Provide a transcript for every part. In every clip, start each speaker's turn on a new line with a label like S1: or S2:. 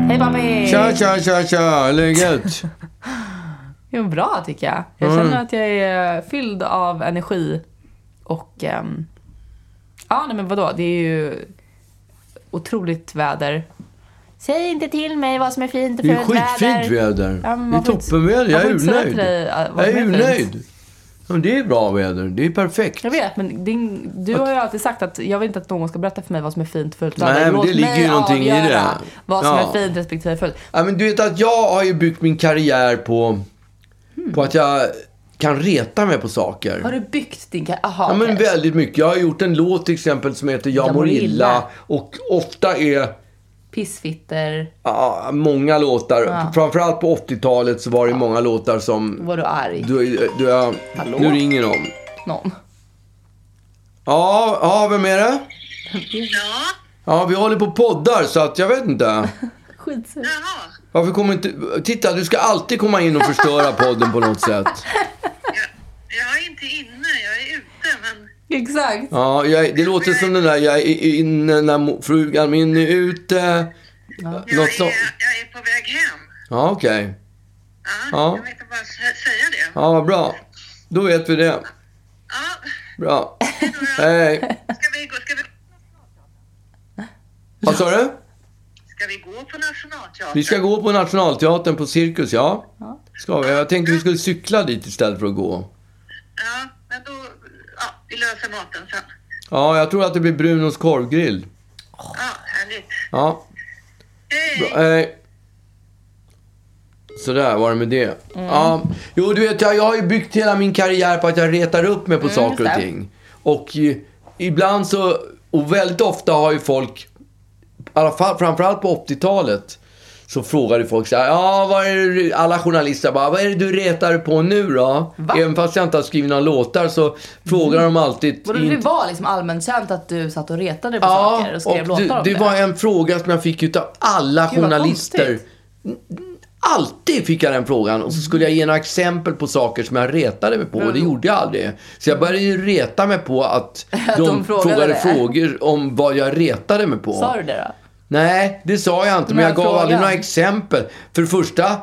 S1: hörni.
S2: Tja, tja, tja, tja. Läget?
S1: Jo, bra tycker jag. Jag
S2: Mm.
S1: känner att jag är eh, fylld av energi och... ehm, ja, nej men vadå? Det är ju otroligt väder. Säg inte till mig vad som är fint och
S2: Det är
S1: fult
S2: skitfint
S1: väder.
S2: väder.
S1: Ja,
S2: det är
S1: men man får inte-
S2: toppenväder. Jag
S1: man
S2: är
S1: får inte säga
S2: urnöjd.
S1: till dig, äh, vad
S2: Jag
S1: som
S2: är
S1: är fint.
S2: urnöjd. Ja, men det är bra väder. Det är perfekt.
S1: Jag vet, men din, du har ju alltid sagt att jag vill inte att någon ska berätta för mig vad som är fint och fult
S2: Nej,
S1: väder.
S2: men
S1: Låt
S2: det ligger ju
S1: mig
S2: någonting i
S1: avgöra
S2: det.
S1: Vad som
S2: Ja.
S1: är fint respektive fult.
S2: Ja, men du vet att jag har ju byggt min karriär på, på att jag kan reta mig på saker.
S1: Har du byggt din... ka- Aha,
S2: Ja, men
S1: okej.
S2: väldigt mycket. Jag har gjort en låt till exempel som heter Jag
S1: Jag
S2: mår
S1: mår
S2: illa.
S1: illa.
S2: Och ofta är
S1: Pissfitter,
S2: ja, många låtar,
S1: Ja.
S2: framförallt på 80-talet så var det många låtar som...
S1: var du arg?
S2: Du, du, ja,
S1: Hallå?
S2: nu ringer någon.
S1: Någon?
S2: Ja, ja, vem är det?
S3: Ja,
S2: Ja, vi håller på och poddar så att jag vet inte.
S1: Skitsur.
S3: jaha.
S2: Varför kommer inte... Titta, du ska alltid komma in och förstöra podden på något sätt.
S3: Jag, jag är inte inne, jag är ute. Men
S1: Exakt.
S2: Ja, jag, det låter som den där jag är inne när mo- frugan min är ute. Något
S3: jag
S2: sånt.
S3: är, jag är på väg hem.
S2: Ja, okej.
S3: Ja,
S2: Ja.
S3: Jag ville bara sä- säga det. Ja.
S2: Ja, bra. Då vet vi det. Bra. Hej.
S3: Ska, vi gå, ska, vi,
S2: Vad sa du?
S3: ska vi gå på Nationalteatern?
S2: Vi ska gå på Nationalteatern på Cirkus, ja.
S1: Ja.
S2: Ska vi? Jag tänkte vi skulle cykla dit istället för att gå.
S3: Ja, men då... Ja, vi löser maten sen.
S2: Ja, jag tror att det blir Brunos korvgrill.
S3: Ja, härligt.
S2: Ja,
S3: Hej!
S2: bra. Hej. Sådär var det med det.
S1: Mm.
S2: Ja. Jo, du vet, jag, jag har ju byggt hela min karriär på att jag retar upp mig på saker och
S1: Mm, just det.
S2: ting. Och ju, ibland så, och väldigt ofta har ju folk, i alla fall, framförallt på 80-talet, så frågade folk så här, ja, vad är det, du-" alla journalister bara, vad är det du retar på nu då?
S1: Va? Mm.
S2: Även fast jag inte har skrivit några låtar så frågar de alltid.
S1: Vadå,
S2: inte-
S1: det var liksom allmänt känt att du satt och retade på saker och skrev
S2: och
S1: låtar om
S2: det,
S1: det?
S2: det var en fråga som jag fick utav alla
S1: Gud, vad
S2: journalister.
S1: konstigt.
S2: Alltid fick jag den frågan och så skulle jag ge några exempel på saker som jag retade mig på
S1: Mm.
S2: och det gjorde jag aldrig. Så jag började ju reta mig på att de,
S1: de frågade
S2: frågade
S1: det.
S2: frågor om vad jag retade mig på.
S1: Sa du det då?
S2: Nej, det sa jag inte, men
S1: Men
S2: jag gav
S1: frågan.
S2: aldrig några exempel. För det första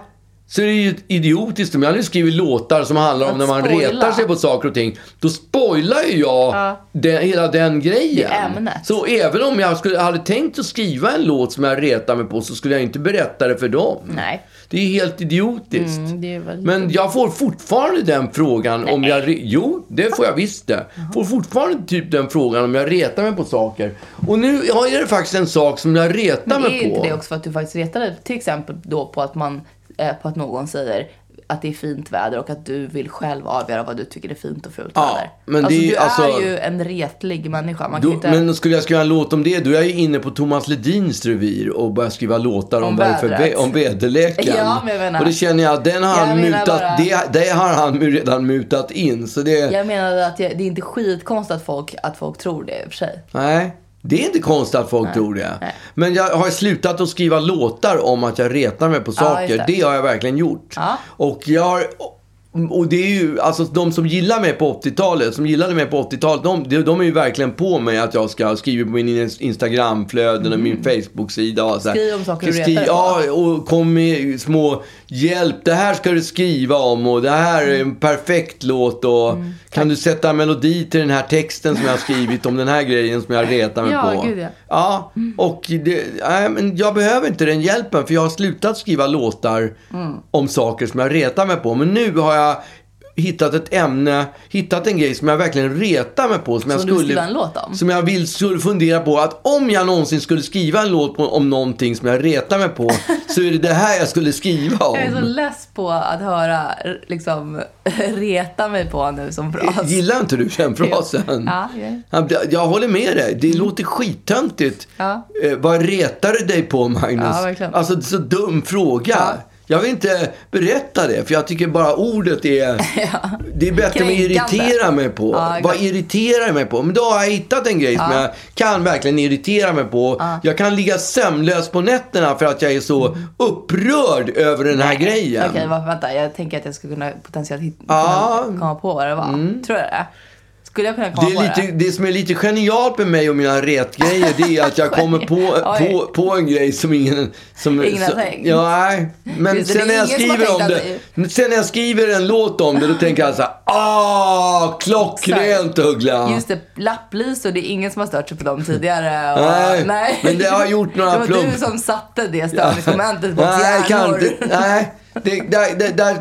S2: så är det ju idiotiskt om jag hade skrivit låtar som handlar om
S1: Att
S2: när man
S1: spoila.
S2: retar sig på saker och ting. Då spoilar ju jag
S1: Ja.
S2: den, hela den grejen.
S1: Det ämnet.
S2: Så även om jag skulle, hade tänkt att skriva en låt som jag retar mig på så skulle jag inte berätta det för dem.
S1: Nej.
S2: Det är helt idiotiskt.
S1: Mm, det är väl...
S2: Men jag får fortfarande den frågan om jag... re- Jo, det får jag visst det. Får fortfarande typ den frågan om jag retar mig på saker. Och nu är det faktiskt en sak som jag retar
S1: Men är
S2: mig
S1: inte det
S2: på.
S1: också för att du faktiskt retade till exempel då på att man, eh, på att någon säger att det är fint väder och att du vill själv avgöra vad du tycker är fint och fult
S2: Ja,
S1: väder.
S2: men
S1: alltså,
S2: det är-
S1: du
S2: alltså-
S1: är ju en retlig människa. Man
S2: Då,
S1: kan ju inte...
S2: men skulle jag skriva en låt om det, då är jag ju inne på Thomas Ledins revir och börjar skriva låtar om,
S1: Om
S2: vad det är för
S1: vädret.
S2: vä- om väderleken.
S1: Ja, men jag menar-
S2: och det känner jag, den har
S1: Jag
S2: han
S1: menar
S2: mutat,
S1: bara-
S2: det, det har han mu- redan mutat in. Så det,
S1: Jag menade att jag, det är inte skitkonstigt att folk, att folk tror det i och för sig.
S2: Nej, det är inte konstigt att folk tror det.
S1: nej.
S2: Men jag har slutat att skriva låtar om att jag retar mig på saker.
S1: just det.
S2: det. har jag verkligen gjort.
S1: Ja.
S2: Och jag har... Och det är ju, alltså de som gillar mig på 80-talet, som gillade mig på 80-talet, de, de- de är ju verkligen på mig att jag ska skriva på min ins- Instagramflöden och min Facebook-sida och så här.
S1: Mm. Skriv om saker du retar
S2: Skri-
S1: dig på.
S2: Ja, och kom med små hjälp. Det här ska du skriva om och det här är
S1: Mm.
S2: en perfekt låt och kan du sätta en melodi till den här texten som jag har skrivit om den här grejen som jag retar mig
S1: Ja,
S2: på.
S1: gud, ja.
S2: Ja, och det, nej, men jag behöver inte den hjälpen för jag har slutat skriva låtar
S1: Mm.
S2: om saker som jag retar mig på. Men nu har jag hittat ett ämne, hittat en grej som jag verkligen retar mig på. Som, jag
S1: Som du
S2: skulle
S1: vill skriva en låt om?
S2: Som jag vill, skulle fundera på att om jag någonsin skulle skriva en låt på, om någonting som jag retar mig på så är det det här jag skulle skriva om.
S1: Jag är så less på att höra liksom reta mig på nu som fras.
S2: Gillar inte du den frasen?
S1: Ja, ja. Mm.
S2: Ja, jag- Jag håller med dig. Det låter skittöntigt.
S1: Ja.
S2: Eh, vad retar du dig på, Magnus?
S1: Ja, verkligen.
S2: alltså, så dum fråga. Jag vill inte berätta det, för jag tycker bara ordet är... Det är bättre med
S1: Kränkande.
S2: irritera mig på.
S1: Ja,
S2: vad
S1: exakt.
S2: irriterar jag mig på? Men då har jag hittat en grej som jag kan verkligen irritera mig på. Jag kan ligga sömnlös på nätterna för att jag är så upprörd över den här grejen.
S1: Mm. Okej, okay, vänta. Jag tänker att jag skulle kunna potentiellt hit-
S2: Ja. Mm.
S1: kunna komma på vad det var. Tror jag det? Skulle jag kunna komma
S2: Det, är
S1: på
S2: lite,
S1: det?
S2: det som är lite genialt med mig och mina retgrejer det är att jag kommer på,
S1: Oj.
S2: på, på en grej som ingen... Som,
S1: Ingen har
S2: som,
S1: tänkt.
S2: ja, nej. Men
S1: Just det,
S2: sen
S1: det
S2: när
S1: är
S2: jag
S1: ingen som har
S2: skriver om
S1: tänkt
S2: det, sen när jag skriver en låt om det, då tänker jag så här, ah, klockrent Uggla!
S1: Just det, lapplisor. Det är ingen som har stört sig på dem tidigare. Och,
S2: Nej, men det har gjort några
S1: Det var
S2: plump.
S1: du som satte det störningsmomentet på
S2: Nej,
S1: nej,
S2: kan inte. Nej, det, där, där, där,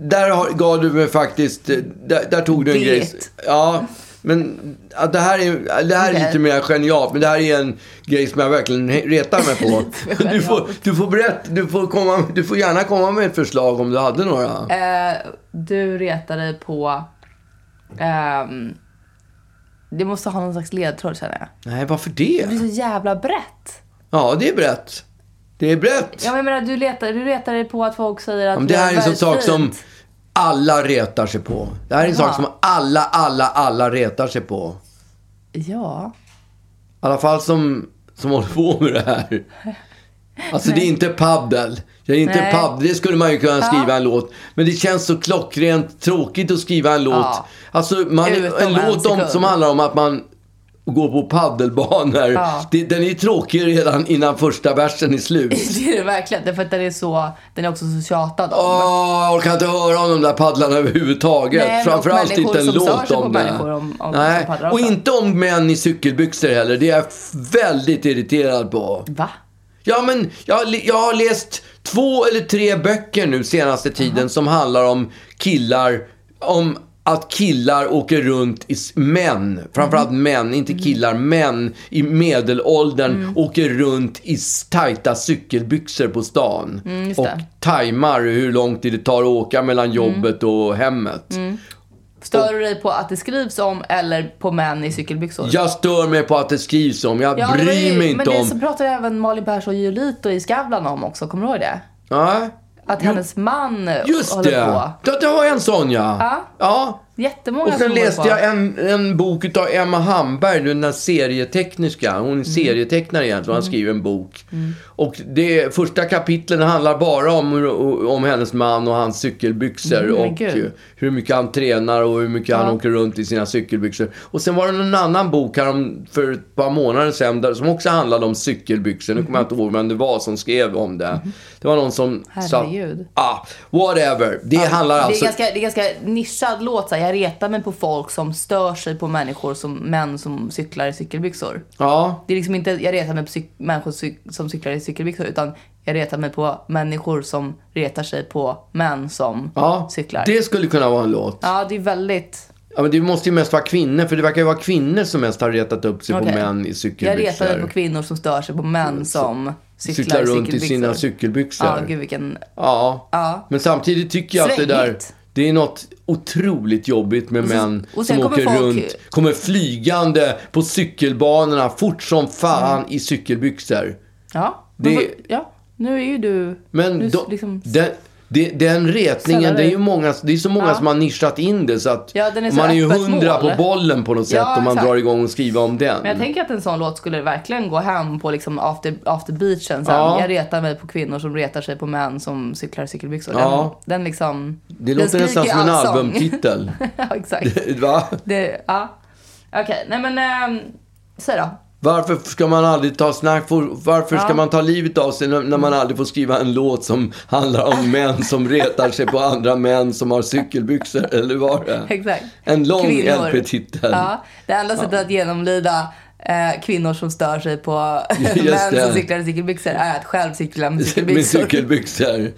S2: där har- gav du mig faktiskt... Där, där tog du en
S1: Vet.
S2: grej. Ja, men att det här är, det här är
S1: Okej.
S2: lite mer genialt. Men det här är en grej som jag verkligen he- retar mig på. Du får, du får berätta. Du får, komma, du får gärna komma med ett förslag om du hade några.
S1: Eh, du retar dig på... ehm, det måste ha någon slags ledtråd känner jag.
S2: Nej, varför det?
S1: Det blir så jävla brett.
S2: Ja, det är brett. Det är brett.
S1: Ja, men Jag menar, du retar, du retar dig på att folk säger att
S2: Ja, men det
S1: du
S2: här är en sån
S1: väldigt
S2: sak som
S1: fint.
S2: alla retar sig på. Det här är en
S1: Ja.
S2: sak som alla, alla, alla retar sig på.
S1: Ja.
S2: I alla fall som, som håller på med det här. Alltså det är inte paddel. Jag är inte
S1: Nej.
S2: paddel. Det skulle man ju kunna skriva en låt. Men det känns så klockrent tråkigt att skriva en låt.
S1: Ja.
S2: Alltså man,
S1: Utom
S2: en
S1: en
S2: låt om,
S1: sekund.
S2: som handlar om att man går på paddelbanor.
S1: Ja.
S2: Det, den är ju tråkig redan innan första versen är slut.
S1: Det är det verkligen. Därför att den är så... Den är också så tjatad om.
S2: Åh, jag orkar inte höra om de där paddlarna överhuvudtaget.
S1: Nej, men
S2: Framförallt
S1: människor
S2: inte en
S1: som stör
S2: låt
S1: sig på
S2: om det.
S1: människor om- om- som
S2: Nej.
S1: paddlar
S2: Och
S1: också.
S2: inte om män i cykelbyxor heller. Det är jag f- väldigt irriterad på.
S1: Va?
S2: Ja, men jag, har li- jag har läst två eller tre böcker nu senaste tiden som handlar om killar, om att killar åker runt i s- män, framförallt
S1: Mhm.
S2: män, inte
S1: Mm.
S2: killar, män i medelåldern åker runt i s- tajta cykelbyxor på stan.
S1: Mm, just
S2: och
S1: det. Mm.
S2: tajmar hur lång tid det tar att åka mellan jobbet och hemmet.
S1: Stör du dig på att det skrivs om eller på män i cykelbyxor?
S2: Jag stör mig på att det skrivs om, jag
S1: Ja, det var
S2: bryr
S1: ju-
S2: mig inte
S1: Men det
S2: om...
S1: så pratade även Malin Persson Giolito i Skavlan om också. Kommer du ihåg det?
S2: Nej.
S1: Att hennes man
S2: Just
S1: håller
S2: det!
S1: på.
S2: Det, det var en sån
S1: Ja.
S2: ja.
S1: Jättemånga
S2: Och sen
S1: som håller
S2: läste
S1: på.
S2: jag en, en bok av Emma Hamberg, den där serietekniska.
S1: Mm.
S2: Hon är serietecknare egentligen, hon skriver en bok. Och det första kapitlen handlar bara om, om hennes man och hans cykelbyxor.
S1: Mm, men
S2: och
S1: gud.
S2: eh, hur mycket han tränar och hur mycket han åker runt i sina cykelbyxor. Och sen var det en annan bok här om, för ett par månader sedan där, som också handlade om cykelbyxor. Nu kommer jag inte ihåg vem det var som skrev om det. Det var någon som
S1: Mm. Herregud.
S2: sa... Ah, whatever. Det handlar
S1: det, är
S2: alltså...
S1: ganska, det är ganska nischad låt. Så här. Jag retar mig på folk som stör sig på människor som män som cyklar i cykelbyxor.
S2: Ja.
S1: Det är liksom inte jag retar mig på cyk- människor cyk- som cyklar i cykelbyxor utan jag retar mig på människor som retar sig på män som
S2: Ja,
S1: cyklar.
S2: det skulle kunna vara en låt.
S1: Ja, det är väldigt...
S2: Ja, men det måste ju mest vara kvinnor, för det verkar ju vara kvinnor som mest har retat upp sig
S1: Okej.
S2: på män i
S1: Jag
S2: cykelbyxor.
S1: retar mig på kvinnor som stör sig på män som cyklar,
S2: Cyklar runt i
S1: cykelbyxor.
S2: sina cykelbyxor.
S1: Ja, gud vilken...
S2: Ja.
S1: Ja.
S2: Men samtidigt tycker jag att det där...
S1: Svängigt.
S2: Det är något otroligt jobbigt med
S1: så-
S2: män
S1: och sen
S2: som
S1: kommer
S2: åker
S1: folk-
S2: runt, kommer flygande på cykelbanorna fort som fan
S1: Mm.
S2: i cykelbyxor.
S1: Ja, men
S2: Det-
S1: vad- ja, nu är ju du...
S2: Men
S1: du
S2: de,
S1: liksom-
S2: den, de, den retningen,
S1: Sällan
S2: det är
S1: är-
S2: ju många, det är så många
S1: Ja.
S2: som har nischat in det så att
S1: Ja, den är så
S2: man är ju
S1: öppet
S2: hundra
S1: mål.
S2: på bollen på något sätt
S1: Ja,
S2: om man
S1: exakt.
S2: drar igång och skriver om den.
S1: Men jag tänker att en sån låt skulle verkligen gå hem på liksom after, after beachen sen.
S2: Ja.
S1: Jag retar mig på kvinnor som retar sig på män som cyklar i cykelbyxor.
S2: Ja.
S1: Den, den liksom...
S2: Det låter
S1: den
S2: nästan
S1: skriker
S2: som en
S1: allsång.
S2: albumtitel.
S1: ja, exakt.
S2: Va?
S1: Det, ja. Okej, nej men... ehm, säg då.
S2: Varför ska man aldrig ta snack? för- Varför ska
S1: Ja.
S2: man ta livet av sig när när man aldrig får skriva en låt som handlar om män som retar sig på andra män som har cykelbyxor? Eller vad var det?
S1: Exakt.
S2: En lång LP-titel.
S1: Ja, det enda sättet att genomlida eh, kvinnor som stör sig på
S2: Just
S1: män
S2: det.
S1: som cyklar i cykelbyxor är att själv cykla med
S2: Med
S1: cykelbyxor.
S2: cykelbyxor.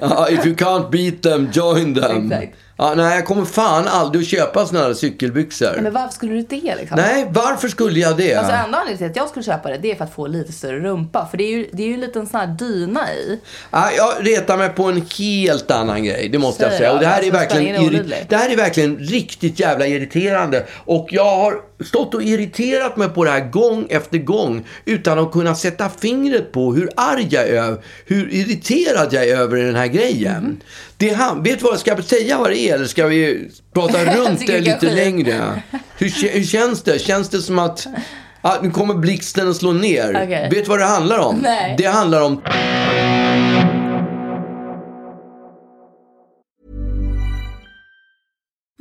S2: Ja, if you can't beat them, join them.
S1: Exakt.
S2: Ja, nej, jag kommer fan aldrig att köpa såna där cykelbyxor.
S1: Men varför skulle du det liksom?
S2: Nej, varför skulle jag det?
S1: Alltså enda anledningen till att jag skulle köpa det, det är för att få lite större rumpa. För det är ju, det är ju en liten sån här dyna i.
S2: Ja, Ah, jag retar mig på en helt annan grej, det måste jag
S1: Säg
S2: säga.
S1: då,
S2: Och det här,
S1: det Alltså,
S2: är
S1: som
S2: verkligen
S1: spänner är
S2: irri-
S1: olidligt.
S2: det här är verkligen riktigt jävla irriterande. Och jag har stått och irriterat mig på det här gång efter gång utan att kunna sätta fingret på hur arg jag är, hur irriterad jag är över den här grejen.
S1: Mhm.
S2: Det han, vet du vad, ska jag säga vad det är eller ska vi prata runt
S1: tycker
S2: det
S1: kanske
S2: lite
S1: det.
S2: längre? Hur, kä- hur känns det? Känns det som att, att nu kommer blixten och slår ner?
S1: Okej.
S2: Vet du vad det handlar om?
S1: Nej.
S2: Det handlar om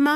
S4: Mom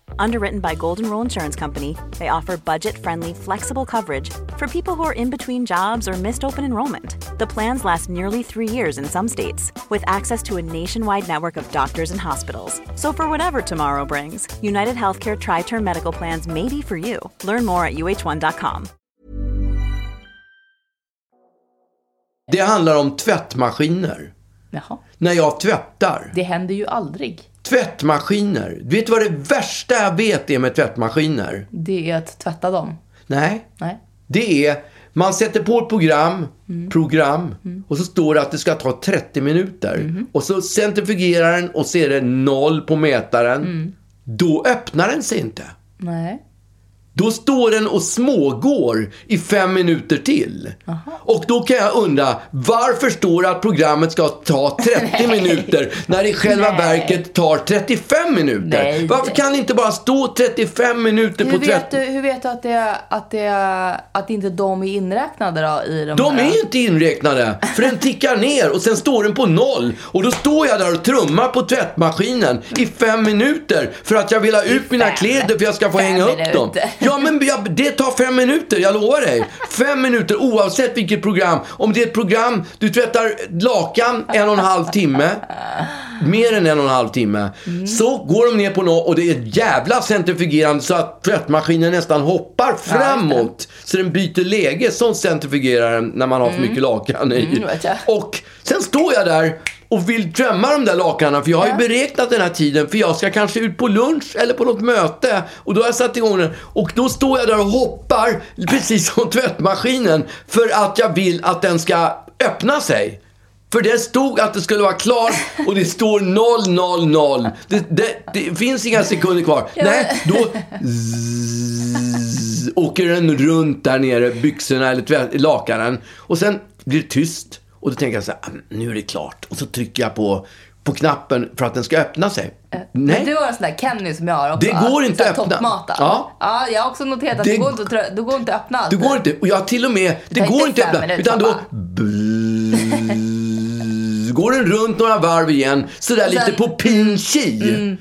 S5: Underwritten by Golden Rule Insurance Company, they offer budget friendly, flexible coverage for people who are in between jobs or missed open enrollment. The plans last nearly three years in some states, with access to a nationwide network of doctors and hospitals. So, for whatever tomorrow brings, United Healthcare Tri Term Medical Plans may be for you. Learn more at uh1.com.
S2: Det handlar om tvättmaskiner.
S1: Jaha.
S2: När jag tvättar.
S1: Det händer ju aldrig.
S2: Tvättmaskiner. Vet du vad det värsta jag vet är med tvättmaskiner?
S1: Det är att tvätta dem.
S2: Nej.
S1: Nej.
S2: Det är, man sätter på ett program, program och så står det att det ska ta 30 minuter. Och så centrifugerar den och så är det noll på mätaren. Då öppnar den sig inte.
S1: Nej.
S2: Då står den och smågår i fem minuter till. Och då kan jag undra, varför står det att programmet ska ta 30 minuter när det i själva
S1: Nej.
S2: verket tar 35 minuter?
S1: Nej.
S2: Varför kan det inte bara stå 35 minuter
S1: Hur
S2: på 30?
S1: vet, du, hur vet du att, det, att, det, att inte de är inräknade då i de
S2: De
S1: här?
S2: är inte inräknade, för den tickar ner och sen står den på noll. Och då står jag där och trummar på tvättmaskinen i fem minuter för att jag vill ha ut mina
S1: fem.
S2: kläder för jag ska få
S1: Fem
S2: hänga upp dem.
S1: minuter.
S2: Ja, men jag, det tar fem minuter, jag lovar dig. Fem minuter oavsett vilket program. Om det är ett program, du tvättar lakan en och en halv timme. Mer än en och en halv timme. Så går de ner på noll och det är ett jävla centrifugerande så att tvättmaskinen nästan hoppar framåt. Så den byter läge. Sånt centrifugerar den när man har för mycket lakan i.
S1: Mm, vet jag.
S2: Och sen står jag där och vill drömma de där lakanen för jag har ju beräknat den här tiden för jag ska kanske ut på lunch eller på något möte och då har jag satt igång den och då står jag där och hoppar precis som tvättmaskinen för att jag vill att den ska öppna sig. För det stod att det skulle vara klart och det står 000. Det, det, det finns inga sekunder kvar. Nej, då zzz, åker den runt där nere, byxorna eller tvätt- lakanen. Och sen blir det tyst. Och då tänker jag så här, "Ah, nu är det klart. Och så trycker jag på, på knappen för att den ska öppna sig.
S1: Nej.
S2: Nej.
S1: Du har en sån där Kenny som jag har också.
S2: Det går inte
S1: Sån här
S2: att öppna.
S1: Toppmatad.
S2: Ja.
S1: ja. Jag har också noterat att
S2: Det-
S1: det, går inte att, trö- det går inte att öppna
S2: Det
S1: alltid.
S2: går inte. Och jag har till och med, det,
S1: tar
S2: går inte
S1: inte fem
S2: ibland.
S1: minuter,
S2: Utan då
S1: pappa.
S2: bzzz, går den runt några varv igen. Sådär
S1: Och sen- Mm,
S2: lite på pin chi.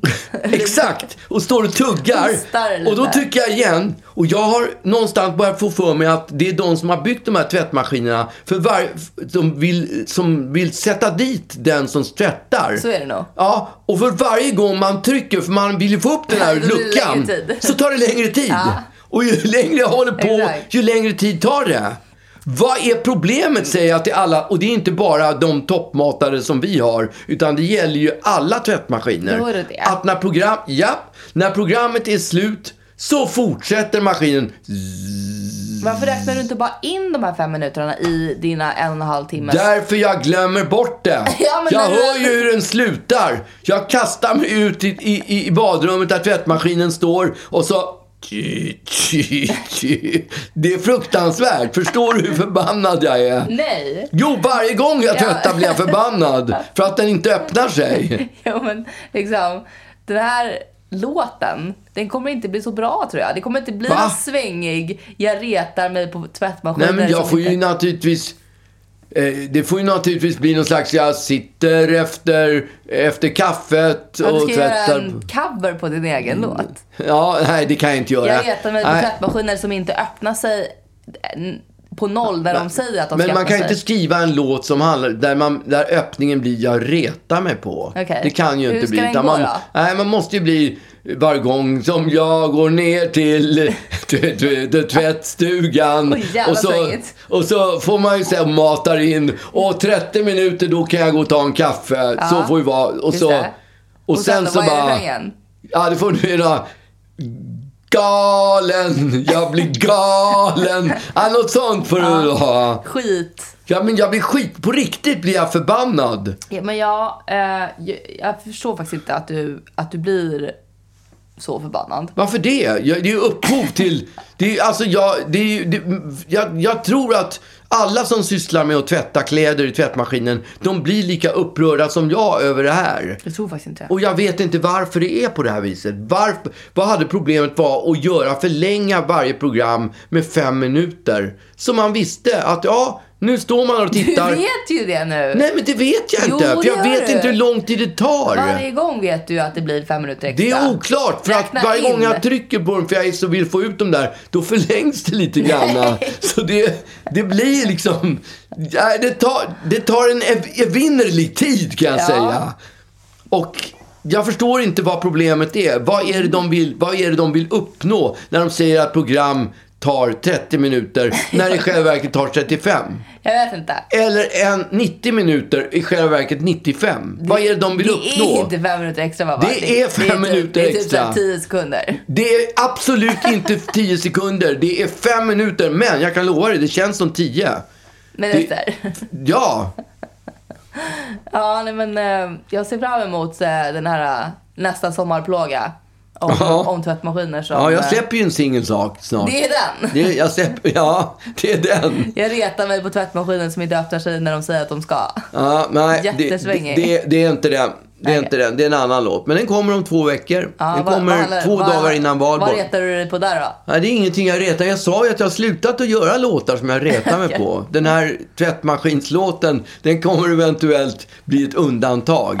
S2: Exakt. Och står och tuggar.
S1: Hostar lite.
S2: Och då tycker jag igen. Och jag har någonstans börjat få för mig att det är de som har byggt de här tvättmaskinerna. För var, de vill, som vill sätta dit den som tvättar.
S1: Så är det nog.
S2: Ja, och för varje gång man trycker, för man vill ju få upp den här
S1: Ja, då blir det
S2: luckan,
S1: längre tid.
S2: så tar det längre tid. Och ju längre jag håller på,
S1: Exakt.
S2: ju längre tid tar det. Vad är problemet säger jag till alla, och det är inte bara de toppmatare som vi har, utan det gäller ju alla tvättmaskiner.
S1: Då är det det.
S2: Att när, program, ja, när programmet är slut så fortsätter maskinen.
S1: Varför räknar du inte bara in de här fem minuterna i dina en och en halv timme?
S2: Därför jag glömmer bort det.
S1: Ja, men
S2: jag
S1: när du-
S2: hör ju hur den slutar. Jag kastar mig ut i, i, i badrummet där tvättmaskinen står och så... Det är fruktansvärt. Förstår du hur förbannad jag är?
S1: Nej.
S2: Jo, varje gång jag tvättar blir jag förbannad för att den inte öppnar sig.
S1: Ja, men liksom, den här låten, den kommer inte bli så bra tror jag. Det kommer inte bli
S2: Va?
S1: någon svängig, jag retar mig på tvättmaskinen.
S2: Nej, men jag
S1: som
S2: får ju
S1: inte-
S2: naturligtvis... eh, Det får ju naturligtvis bli någon slags, jag sitter efter, efter kaffet
S1: Ja, du
S2: och
S1: ska göra
S2: tvättar. Mm.
S1: en cover på din egen låt.
S2: Ja, nej det kan jag inte göra.
S1: Jag retar mig på
S2: Nej.
S1: tvättmaskiner som inte öppnar sig eh, på noll när de säger att de
S2: Men
S1: ska
S2: man
S1: öppna
S2: kan inte
S1: sig.
S2: skriva en låt som handlar, där, man, där öppningen blir jag retar mig på.
S1: Okej.
S2: Det kan ju
S1: Hur
S2: inte
S1: ska
S2: bli.
S1: den
S2: utan
S1: gå
S2: man,
S1: då?
S2: Nej, man måste ju bli varje gång som jag går ner till tv- tv- tvättstugan.
S1: Oj, jävla
S2: och, så,
S1: svängigt.
S2: och så får man ju säga, matar in, och 30 minuter då kan jag gå och ta en kaffe. Så får det vara. Och,
S1: just
S2: så,
S1: det.
S2: och, sen, så
S1: vad är
S2: bara...
S1: refrängen?
S2: Ja, det får du göra. galen, jag blir galen. Ja, något sånt för att ha.
S1: Skit.
S2: Ja, men jag blir skit, på riktigt blir jag förbannad.
S1: Ja, men jag, eh, jag, jag förstår faktiskt inte att du, att du blir så förbannad.
S2: Varför det? Jag, det är ju upphov till... Det är, alltså jag, det är, ju- det, jag, jag tror att alla som sysslar med att tvätta kläder i tvättmaskinen, de blir lika upprörda som jag över det här.
S1: Jag tror faktiskt inte det.
S2: Och jag vet inte varför det är på det här viset. Varför, vad hade problemet var att göra förlänga varje program med fem minuter? Så man visste att ja, nu står man och
S1: Du
S2: tittar.
S1: vet ju det nu.
S2: Nej men det vet jag
S1: Jo,
S2: inte. för
S1: det
S2: jag
S1: gör
S2: vet
S1: du.
S2: inte hur lång tid det tar.
S1: Varje gång vet du att det blir fem minuter extra.
S2: Det är oklart, för att
S1: Räkna
S2: varje gång
S1: in.
S2: jag trycker på den för jag är så vill få ut dem där, då förlängs det lite grann. Så det, det blir liksom, nej, det tar, det tar en ev- evinnerlig tid kan jag
S1: Ja.
S2: säga. Och jag förstår inte vad problemet är. Vad är det, de vill, vad är det de vill uppnå när de säger att program tar 30 minuter, när det i själva verket tar 35?
S1: Jag vet inte.
S2: Eller en 90 minuter, i själva verket 95? vad är det de vill
S1: det
S2: uppnå?
S1: är inte fem minuter extra mamma.
S2: Det är fem
S1: typ-
S2: minuter
S1: Det är typ
S2: extra.
S1: såhär tio sekunder.
S2: Det är absolut inte 10 sekunder. Det är 5 minuter. Men jag kan lova dig, det känns som 10.
S1: Minuter.
S2: Ja,
S1: Ja, nej men eh, jag ser fram emot eh, den här eh, nästa sommarplåga. Om,
S2: Ja.
S1: om tvättmaskiner som...
S2: ja jag
S1: eh,
S2: släpper ju en singel sak snart.
S1: Det är den!
S2: Det, jag släpper, ja, det är den.
S1: Jag retar mig på tvättmaskinen som inte öppnar sig när de säger att de ska.
S2: Ja, nej, det, det,
S1: Jättesvängig.
S2: det, det är inte den. Det är
S1: Nej.
S2: inte den. Det är en annan låt. Men den kommer om två veckor.
S1: Ja,
S2: den
S1: vad- vad
S2: kommer
S1: handlar-
S2: två
S1: vad-
S2: dagar innan valborg.
S1: Vad retar du dig på där då?
S2: Nej, det är ingenting jag retar. Jag sa ju att jag har slutat att göra låtar som jag retar mig på. Den här tvättmaskinslåten, den kommer eventuellt bli ett undantag.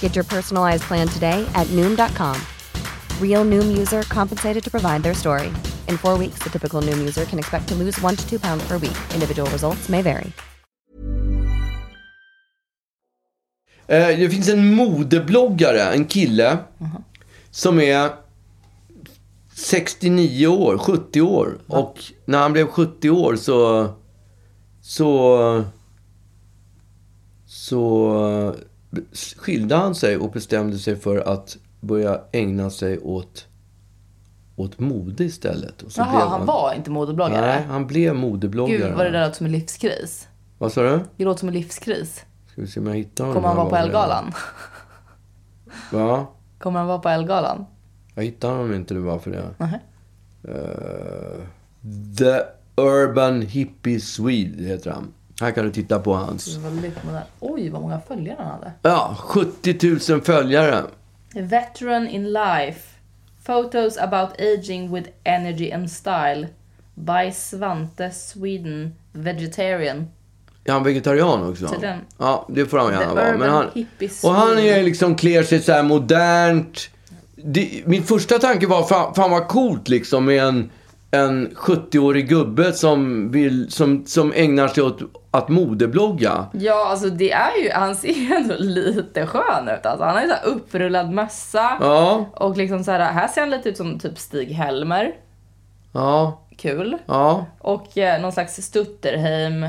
S6: Get your personalized plan today at Noom.com. Real Noom user compensated to provide their story. In four weeks, the typical Noom user can expect to lose one to two pounds per week. Individual results may vary.
S2: Eh, Det finns en modebloggare, en kille, som är 69 år, 70 år. Och när han blev 70 år så... Så... Så skilde han sig och bestämde sig för att börja ägna sig åt, åt mode istället. Och så
S1: Jaha,
S2: blev
S1: han var inte modebloggare?
S2: Nej, han blev modebloggare.
S1: Gud vad det där låter som en livskris.
S2: Vad sa du?
S1: Det låter som en livskris.
S2: Ska vi se om jag hittar honom.
S1: Kommer han
S2: här
S1: vara på
S2: var det.
S1: Elgalan?
S2: Ja.
S1: Kommer han vara på Elgalan?
S2: Jag hittade honom inte, det var för det.
S1: Nähä.
S2: Eh, The Urban Hippie Swede heter han. Här kan du titta på hans.
S1: Väldigt modern. Oj, vad många följare han hade.
S2: Ja, 70 000 följare.
S1: A veteran in life. Photos about aging with energy and style. By Svante Sweden Vegetarian.
S2: Är han vegetarian också?
S1: Tydligen.
S2: Ja, det får han gärna
S1: The
S2: vara.
S1: Urban
S2: Men han,
S1: Hippie
S2: och han
S1: Swede.
S2: är liksom, klär sig så här modernt. Det, min första tanke var, fan, fan vad coolt liksom med en, en 70-årig gubbe som, vill, som, som ägnar sig åt att modeblogga.
S1: Ja, alltså det är ju, han ser ju ändå lite skön ut. Alltså, han har ju så här upprullad mössa.
S2: Ja,
S1: Och liksom så här, här ser han lite ut som typ Stig-Helmer.
S2: ja,
S1: Kul.
S2: ja.
S1: Och eh, någon slags Stutterheim.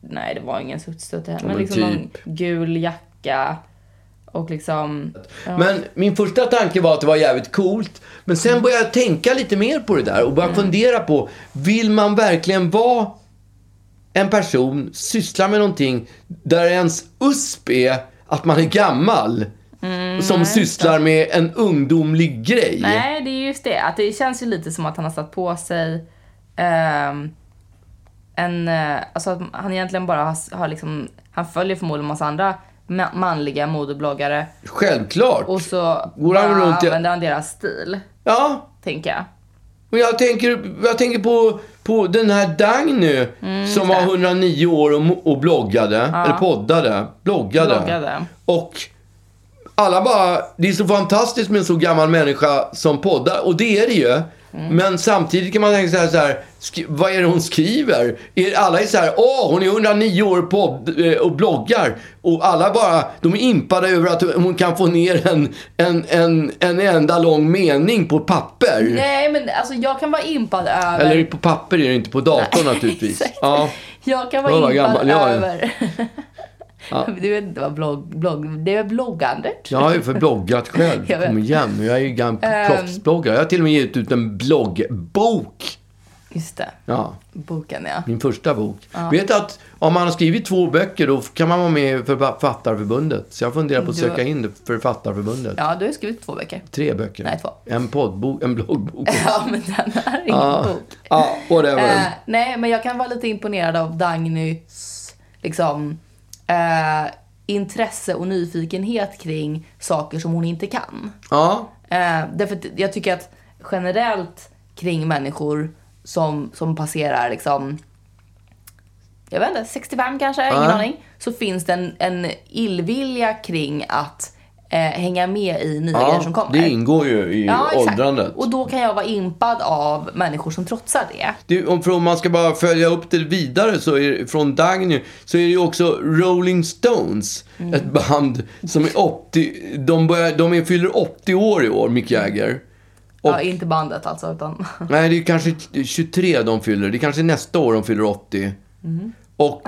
S1: Nej, det var ingen Stut- Stutterheim. men
S2: men
S1: liksom
S2: typ.
S1: någon gul jacka. Och liksom... Ja.
S2: Men min första tanke var att det var jävligt coolt. Men
S1: Mm.
S2: sen började jag tänka lite mer på det där och började fundera på, vill man verkligen vara en person, syssla med någonting där ens USP är att man är gammal.
S1: Mm,
S2: som sysslar med en ungdomlig grej.
S1: Nej, det är just det. Att det känns ju lite som att han har satt på sig ehm, en... eh, Alltså att han egentligen bara har, har liksom... Han följer förmodligen massa andra ma- manliga modebloggare
S2: Självklart.
S1: och så
S2: Går
S1: bara
S2: han runt i-
S1: använder han deras stil,
S2: Ja,
S1: tänker jag.
S2: och jag tänker, jag tänker på, på den här Dang nu.
S1: Mm,
S2: som var 109 år och, och bloggade. Eller poddade. Bloggade.
S1: Bloggade.
S2: Och alla bara, det är så fantastiskt med en så gammal människa som poddar. Och det är det ju.
S1: Mm.
S2: Men samtidigt kan man tänka så här, så här sk- vad är det hon skriver? Är, alla är så här, åh hon är 109 år podd, eh, och bloggar. Och alla bara, de är impade över att hon kan få ner en, en, en, en enda lång mening på papper.
S1: Nej, men alltså jag kan vara impad över...
S2: Eller på papper är det inte, på datorn naturligtvis.
S1: Exakt.
S2: Ja.
S1: Jag kan vara
S2: Jag var
S1: impad
S2: gammal, ja, ja.
S1: över... Du vet inte vad blogg... blogg det är bloggandet.
S2: Jag har ju för bloggat själv.
S1: Jag vet. Ehm.
S2: Kom igen, jag är ju gammal proffsbloggare. Jag har till och med gett ut en bloggbok.
S1: Just det.
S2: Ja,
S1: Boken, ja.
S2: min första bok. Vet att om man har skrivit två böcker då kan man vara med i Författarförbundet. Så jag funderar på att
S1: Du-
S2: söka in det för Författarförbundet.
S1: Ja, du har skrivit två veckor.
S2: Tre böcker.
S1: Nej, två.
S2: En poddbok, en bloggbok.
S1: Ja, men den här är ingen bok.
S2: Ja,
S1: Eh,
S2: whatever.
S1: nej, men jag kan vara lite imponerad av Dagnys liksom, eh, intresse och nyfikenhet kring saker som hon inte kan.
S2: Ja,
S1: Eh, därför att jag tycker att generellt kring människor som, som passerar liksom, jag vet inte, 65 kanske, ingen
S2: Ja.
S1: aning. Så finns det en, en illvilja kring att eh, hänga med i nya grejer
S2: ja
S1: som kommer.
S2: det ingår ju i
S1: Ja, exakt.
S2: åldrandet.
S1: Och då kan jag vara impad av människor som trotsar det.
S2: Det, om, för om man ska bara följa upp det vidare så är, från Dagny så är det ju också Rolling Stones. Ett band som är 80, de, börjar, de är, fyller 80 år i år, Mick Jagger. Och,
S1: Ja, inte bandet alltså, utan...
S2: Nej, det är kanske 23 de fyller. Det är kanske nästa år de fyller 80.
S1: Mm.
S2: Och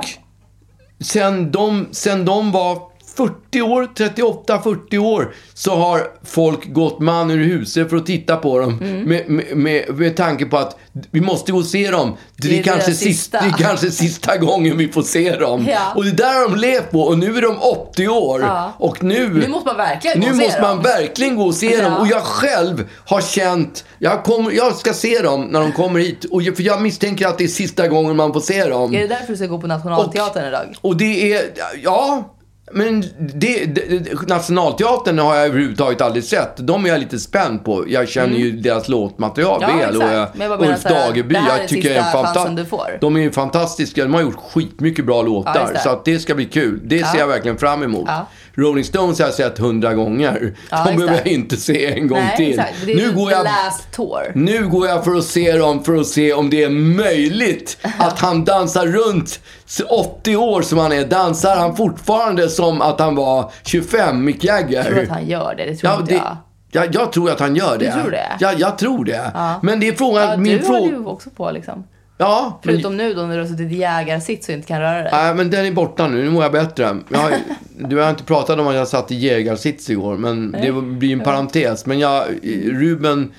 S2: sen de, sen de var 40 år, 38-40 år, så har folk gått man ur huset för att titta på dem.
S1: Mm.
S2: Med, med, med, med tanke på att vi måste gå och se dem. Det,
S1: Det
S2: är
S1: är
S2: kanske
S1: deras
S2: sista.
S1: sista.
S2: det är kanske sista gången vi får se dem.
S1: Ja.
S2: Och det där har de levt på. Och nu är de 80 år.
S1: Ja.
S2: Och nu...
S1: Nu måste man verkligen gå
S2: Nu
S1: och se
S2: måste man
S1: dem.
S2: verkligen gå och se
S1: Ja.
S2: dem. Och jag själv har känt, jag, kommer, jag ska se dem när de kommer hit. Och jag, för jag misstänker att det är sista gången man får se dem.
S1: Är det därför du ska gå på Nationalteatern idag?
S2: Och det är, ja. Men det, det, det- Nationalteatern har jag överhuvudtaget aldrig sett. De är jag lite spänd på. Jag känner ju deras låtmaterial
S1: Mm. Ja,
S2: väl. Och
S1: exakt.
S2: jag,
S1: Men jag bara menar
S2: eh, Ulf
S1: så här,
S2: Dageby,
S1: det här
S2: jag
S1: är
S2: tycker jag är
S1: sista
S2: fantastisk.
S1: chansen du får.
S2: De är ju fantastiska. De har gjort skitmycket bra
S1: Ja,
S2: låtar.
S1: just det.
S2: så att det ska bli kul. Det ser jag verkligen fram emot.
S1: Ja.
S2: Rolling Stones har jag sett hundra gånger.
S1: Ja,
S2: De behöver
S1: exakt.
S2: jag inte se en gång
S1: Nej,
S2: till.
S1: exakt. Det är
S2: Nu
S1: ju
S2: går
S1: the
S2: jag
S1: last tour.
S2: nu går jag för att se dem för att se om det är möjligt att han dansar runt 80 år som han är. Dansar han fortfarande som att han var 25, Mick
S1: Jag tror att
S2: Jagger?
S1: han gör det, det tror
S2: Ja,
S1: inte
S2: det,
S1: jag.
S2: jag, jag tror att han gör det.
S1: Du tror det?
S2: Ja, jag tror det.
S1: Ja.
S2: Men det är frågan,
S1: Ja,
S2: min
S1: du håller ju
S2: fråga...
S1: också på liksom.
S2: Ja, men,
S1: Förutom nu då när du har suttit i jägarsitt så inte kan röra dig.
S2: nej, men den är borta nu. Nu mår jag bättre. Jag, har- du har inte pratat om att jag satt i jägarsits igår, men det blir en parentes. Men jag, Ruben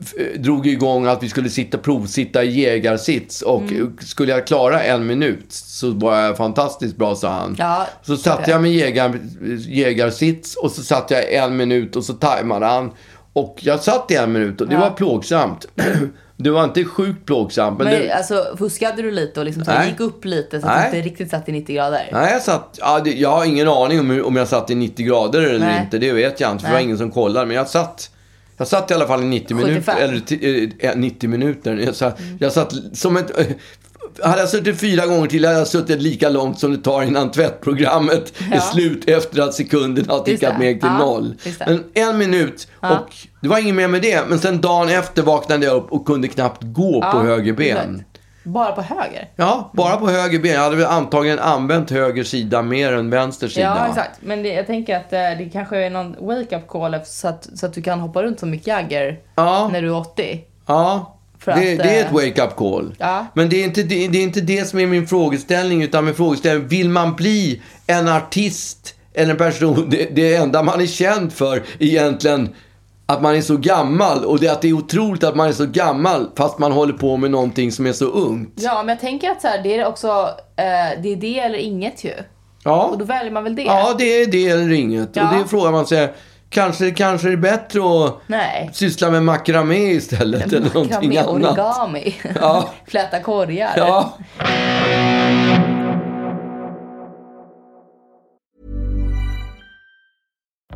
S2: f- drog igång att vi skulle sitta provsitta i jägarsits och skulle jag klara en minut så var jag fantastiskt bra, sa han.
S1: Ja,
S2: så satte
S1: okej.
S2: jag med jägar, jägarsits och så satt jag en minut och så tajmade han. Och jag satt i en minut och det var plågsamt. Det var inte sjukt plågsamt. Men
S1: Men
S2: det,
S1: alltså fuskade du lite och liksom så här
S2: Nej.
S1: gick upp lite så att du
S2: Nej.
S1: inte riktigt satt i 90 grader?
S2: Nej, jag satt... Ja, det, jag har ingen aning om, hur- om jag satt i 90 grader eller
S1: Nej.
S2: inte. Det vet jag inte, för det var
S1: Nej.
S2: ingen som kollar. Men jag satt... Jag satt i alla fall i 90 minuter.
S1: 75.
S2: Eller ti- eh, eh, 90 minuter. Jag satt,
S1: Mm.
S2: jag satt som ett... eh, Hade jag suttit fyra gånger till hade jag suttit lika långt som det tar innan tvättprogrammet är
S1: Ja.
S2: slut efter att sekunderna har
S1: Just
S2: tickat
S1: det.
S2: ner till
S1: Ja,
S2: noll.
S1: just det.
S2: Men en minut och det var inget mer med det. Men sen dagen efter vaknade jag upp och kunde knappt gå på
S1: Ja,
S2: höger ben.
S1: exakt. Bara på höger?
S2: Ja, bara på höger ben. Jag hade väl antagligen använt höger sida mer än vänster sida.
S1: Ja, exakt. Men det, jag tänker att eh, det kanske är någon wake-up call efter- så att, så att du kan hoppa runt som Mick Jagger
S2: Ja.
S1: när du är 80.
S2: Ja.
S1: För
S2: Det,
S1: att,
S2: det är
S1: eh,
S2: ett wake-up call.
S1: Ja.
S2: Men det är, inte det, det är inte det som är min frågeställning. Utan min frågeställning, vill man bli en artist eller en person, det, det enda man är känd för egentligen, att man är så gammal. Och det, är att det är otroligt att man är så gammal fast man håller på med någonting som är så ungt.
S1: Ja, men jag tänker att så här, det är också, eh, det är det eller inget ju.
S2: Ja.
S1: Och då väljer man väl det?
S2: Ja, det är det eller inget.
S1: Ja.
S2: Och det frågar man sig. Kanske, kanske är det bättre att
S1: Nej.
S2: syssla med makramé istället. Eller någonting
S1: Makramé,
S2: annat.
S1: origami.
S2: Ja.
S1: Fläta korgar.
S2: Ja.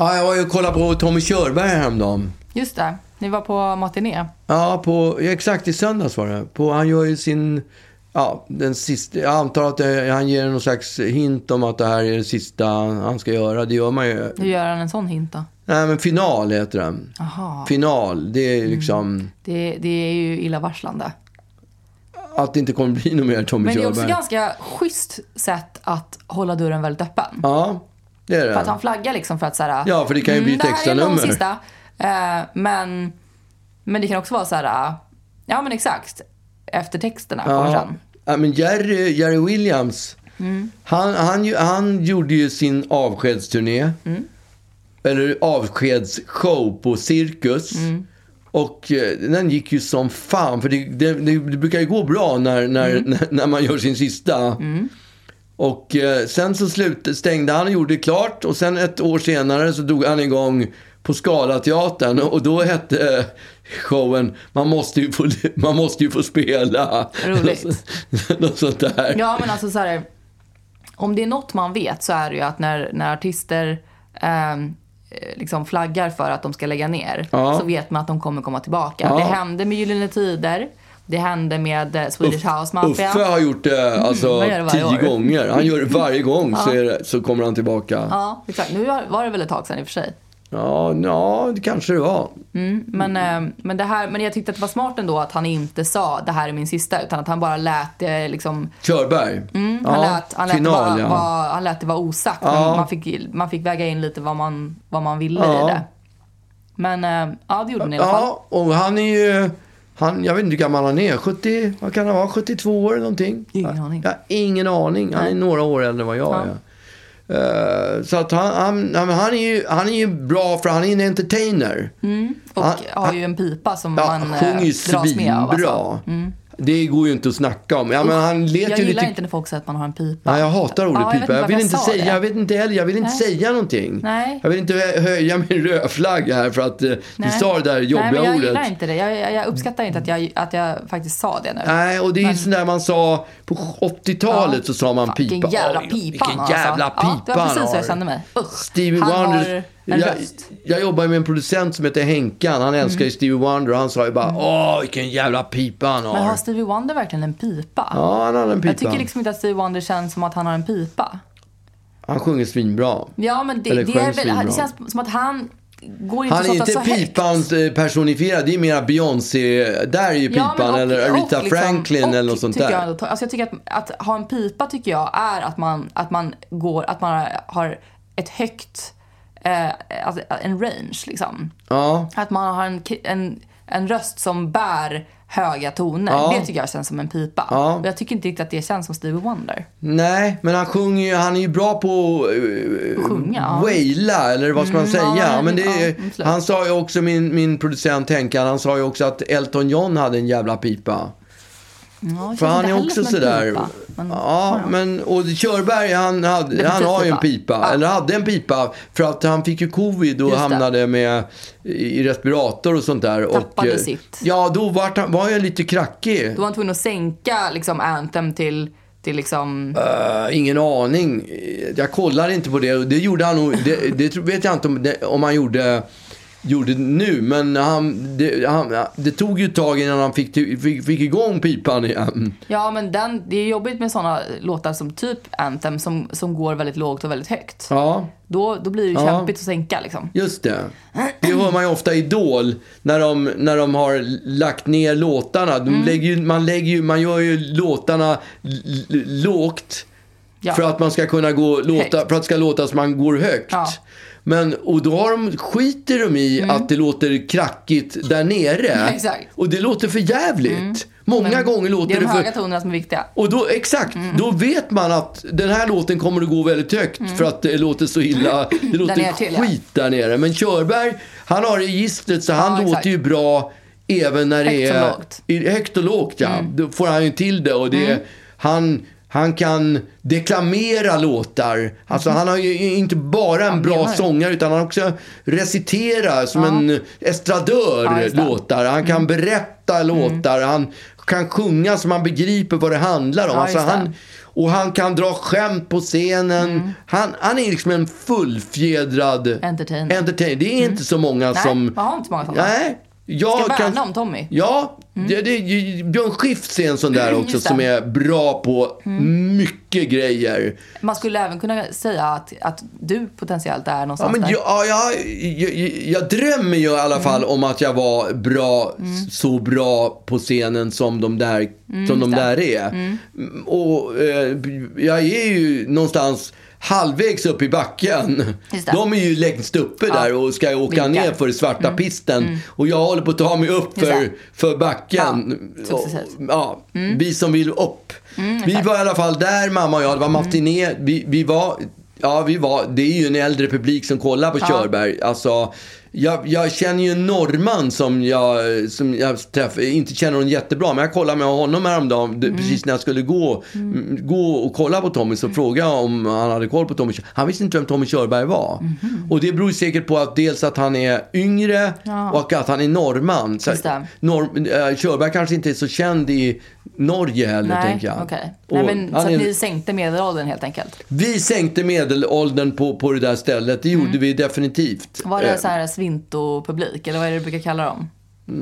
S2: ja, jag var ju och kollade på Tommy Körberg häromdagen.
S1: Just det, ni var på matiné.
S2: Ja, på, ja, exakt i söndags var det. På, han gör ju sin... Ja, den sista, jag antar att det, han ger någon slags hint om att det här är det sista han ska göra. Det gör man ju.
S1: Hur gör han en sån hint då?
S2: Nej, men final heter den.
S1: Jaha, Mm.
S2: Final, det är liksom...
S1: det, det är ju illavarslande.
S2: Att det inte kommer bli något mer Tommy
S1: Men det är
S2: Körberg.
S1: också ganska schysst sätt att hålla dörren väldigt öppen.
S2: Ja, det är det.
S1: För att han flaggar liksom för att såhär,
S2: Ja, för det kan ju bli ett
S1: det här
S2: extra
S1: är de
S2: nummer."
S1: Sista. Eh, men, men det kan också vara så här, ja men exakt, eftertexterna kommer
S2: Ja.
S1: sen.
S2: Ja, men Jerry, Jerry Williams, han, han, ju- han gjorde ju sin avskedsturné. Eller avskedsshow på Cirkus. Och eh, den gick ju som fan. För det, det, det brukar ju gå bra när, när, när, när man gör sin sista. Och eh, sen så slut, stängde han och gjorde klart. Och sen ett år senare så drog han igång på Scalateatern. Och då hette eh, showen Man måste ju få, man måste ju få spela.
S1: Roligt.
S2: Något sånt- Något sånt där.
S1: Ja men alltså så här, om det är något man vet så är det ju att när, när artister ehm, eh, liksom flaggar för att de ska lägga ner
S2: Ja.
S1: så vet man att de kommer komma tillbaka.
S2: Ja.
S1: Det hände med Gyllene Tider, det hände med eh, Swedish House Mafia.
S2: Uffe har gjort det alltså,
S1: han Mm, gör det varje
S2: tio
S1: år.
S2: gånger. Han gör det varje gång så, är det, så kommer han tillbaka. Ja,
S1: Ja, exakt. Nu var det väl ett tag sedan i och för sig.
S2: ja, ja det kanske det var.
S1: Men,
S2: Mm.
S1: eh, men, det här, men jag tyckte att det var smart ändå att han inte sa det här är min sista utan att han bara lät det liksom,
S2: Körberg.
S1: Mm, han,
S2: ja,
S1: lät, han, lät det
S2: final,
S1: vara,
S2: ja.
S1: vara, han lät det vara osagt.
S2: Ja.
S1: Men man, fick, man fick väga in lite vad man, vad man ville
S2: Ja.
S1: i det. Men eh, ja, det gjorde man i alla fall.
S2: Ja, och han är ju... Han, jag vet inte hur gammal han är. 70, vad kan han vara? 72 år eller någonting?
S1: Ingen aning.
S2: Jag har ingen aning. Han är några år äldre än vad jag är. Eh, så att han, han, han, han, är ju, han är ju bra för han är en entertainer.
S1: Och
S2: han-
S1: har ju en pipa som
S2: Ja,
S1: man
S2: han
S1: Mm. eh,
S2: sjunger ju
S1: dras med av. Alltså.
S2: svinbra. Det går ju inte att snacka om. Ja, men han lät
S1: Jag
S2: ju
S1: gillar
S2: lite...
S1: inte när folk säger att man har en pipa.
S2: Nej, jag hatar ordet
S1: Ja,
S2: pipa.
S1: jag vet inte
S2: Jag vill
S1: varför
S2: inte
S1: jag sa
S2: säga,
S1: det.
S2: jag vet inte heller, jag vill inte säga någonting.
S1: Nej.
S2: Jag vill inte hö- höja min rödflagga här för att eh, ni
S1: Nej.
S2: sa det där jobbiga
S1: Nej, men jag
S2: ordet.
S1: gillar inte det. Jag, jag, jag uppskattar inte att jag, att jag faktiskt sa det nu.
S2: Nej, och det är ju sådär man sa på 80-talet
S1: Ja.
S2: så sa man
S1: Fan,
S2: pipa.
S1: Vilken jävla
S2: Oj,
S1: pipa
S2: Vilken
S1: han
S2: jävla
S1: alltså.
S2: pipa
S1: Ja, det var precis
S2: han
S1: så
S2: har.
S1: jag kände mig. Usch.
S2: Stevie
S1: han
S2: Wonder.
S1: har en
S2: jag,
S1: röst. Mm.
S2: jag jobbar ju med en producent som heter Henkan. Han älskar ju Stevie Wonder och han sa ju bara åh vilken jävla pipa han har.
S1: Men har Stevie Wonder verkligen en pipa?
S2: Ja, han hade en pipa.
S1: Jag tycker liksom inte att Stevie Wonder känns som att han har en pipa.
S2: Han sjunger svinbra.
S1: Ja, men det,
S2: Eller
S1: det,
S2: sjöng
S1: är väl,
S2: svinbra.
S1: det känns som att han går inte
S2: Han
S1: så
S2: är
S1: ofta
S2: inte
S1: så högt.
S2: pipans eh, personifierad, det är mera Beyoncé. Där är ju
S1: Ja,
S2: pipan,
S1: men och-
S2: eller
S1: och
S2: Aretha
S1: liksom-
S2: Franklin
S1: och
S2: eller något sånt
S1: tycker
S2: där.
S1: Jag, ändå- alltså jag tycker att, att ha en pipa tycker jag är att man, att man går, att man har ett högt, eh, alltså en range liksom.
S2: Ja,
S1: Att man har en, en, en röst som bär höga toner.
S2: Ja.
S1: Det tycker jag känns som en pipa.
S2: Ja.
S1: Och jag tycker inte riktigt att det känns som Stevie Wonder.
S2: nej, men han sjunger ju, han är ju bra på uh,
S1: Sjunga, ja. Mm,
S2: waila, eller vad ska man
S1: ja,
S2: säga?
S1: nej,
S2: men det, är-
S1: ja, absolut.
S2: han sa ju också, min, min producent Henkan, han sa ju också att Elton John hade en jävla pipa.
S1: Ja, det känns
S2: För han
S1: inte
S2: är
S1: heller
S2: också
S1: som en
S2: sådär.
S1: pipa, men-
S2: ja, men och Körberg han, hade, han har ju en pipa.
S1: Ja.
S2: Eller hade en pipa. För att han fick ju covid och
S1: Just det.
S2: hamnade med i respirator och sånt där.
S1: Tappade
S2: och, eh,
S1: sitt.
S2: Ja, då var han, var jag lite krackig.
S1: Då var han tvungen att sänka liksom Anthem till, till liksom...
S2: Eh, ingen Eh, aning. Jag kollade inte på det. Det gjorde han nog. Det, det tror- vet jag inte om, det, om han gjorde gjorde nu. Men han, det, han, det tog ju ett tag innan han fick, till- fick, fick igång pipan igen.
S1: Ja, men den, det är jobbigt med såna låtar som typ Anthem som, som går väldigt lågt och väldigt högt.
S2: Ja,
S1: Då, då blir det ju
S2: Ja.
S1: kämpigt att sänka liksom.
S2: just det. Det hör man ju ofta i Idol när de, när de har lagt ner låtarna.
S1: Mm.
S2: De lägger ju, man, lägger ju, man gör ju låtarna l- l- lågt
S1: Ja.
S2: för att man ska kunna gå låta, för
S1: Högt.
S2: att det ska låta som man går högt.
S1: Ja. Mm.
S2: Men, och då har de, skiter de i att det låter krackigt där nere.
S1: Exakt. Mm.
S2: Och det låter för jävligt. Många gånger
S1: Det
S2: låter
S1: är
S2: det
S1: de
S2: för...
S1: höga tonerna som är viktiga.
S2: Och då, exakt,
S1: Mm.
S2: då vet man att den här låten kommer att gå väldigt högt för att det låter så illa. Det låter
S1: nere till, ja.
S2: skit där nere. Men Körberg, han har registret så han
S1: Ja,
S2: låter
S1: exakt.
S2: ju bra även när det
S1: Högt och
S2: är
S1: lågt. Mm.
S2: i- högt och lågt. Ja. Då får han ju till det och det, han, han kan deklamera låtar. Alltså han har ju inte bara en bra
S1: menar det.
S2: sångare utan han också recitera som en estradör
S1: Ja, just det. Mm.
S2: låtar. Han kan berätta låtar. Han kan sjunga så man begriper vad det handlar om.
S1: Ja,
S2: alltså
S1: just det. Mm.
S2: han, och han kan dra skämt på scenen. Han, han är liksom en fullfjädrad
S1: Entertainer. Mm.
S2: entertainer. Det är inte så många
S1: Nej,
S2: som...
S1: jag har inte så många sådana.
S2: Nej. Jag
S1: Ska värna
S2: kan-
S1: om Tommy.
S2: Ja, det, det, Björn Skifs är en sån där
S1: Mm,
S2: också
S1: just det. Mm.
S2: som är bra på mycket grejer.
S1: Man skulle även kunna säga att, att du potentiellt är
S2: Ja,
S1: någonstans
S2: men
S1: där. Mm.
S2: jag, ja, jag, jag, jag drömmer ju i alla fall om att jag var bra, så bra på scenen som de där,
S1: Mm,
S2: som de där är. Och eh, jag är ju någonstans halvvägs upp i backen.
S1: Just det.
S2: De är ju längst uppe där och ska ju åka
S1: Vinkar.
S2: ner för svarta pisten. Och jag håller på att ta mig upp
S1: Mm. Just
S2: för,
S1: det.
S2: för backen.
S1: Ja,
S2: Och-
S1: successivt.
S2: ja, Vi som vill upp. vi var i alla fall där, mamma och jag. Det var matiné. Vi, vi var... Ja, vi var, det är ju en äldre publik som kollar på Körberg. Alltså, jag, jag känner ju en norrman som jag, som jag träffar, inte känner honom jättebra, men jag kollade med honom häromdagen, mm. precis när jag skulle gå, m, gå och kolla på Tommy, så frågade jag om han hade koll på Tommy. Kör- Han visste inte vem Tommy Körberg var. Och det beror ju säkert på att dels att han är yngre och att han är norrman. Så,
S1: Just det.
S2: Nor- eh, Körberg kanske inte är så känd i Norge heller,
S1: Nej,
S2: tänker jag.
S1: okej.
S2: Och
S1: Nej, men
S2: han
S1: så att
S2: är-
S1: ni sänkte medelåldern helt enkelt.
S2: Vi sänkte medelåldern på, på det där stället. Det gjorde vi definitivt.
S1: Mm. Var det
S2: Eh,
S1: så här svinto-publik, eller vad är det du brukar kalla dem?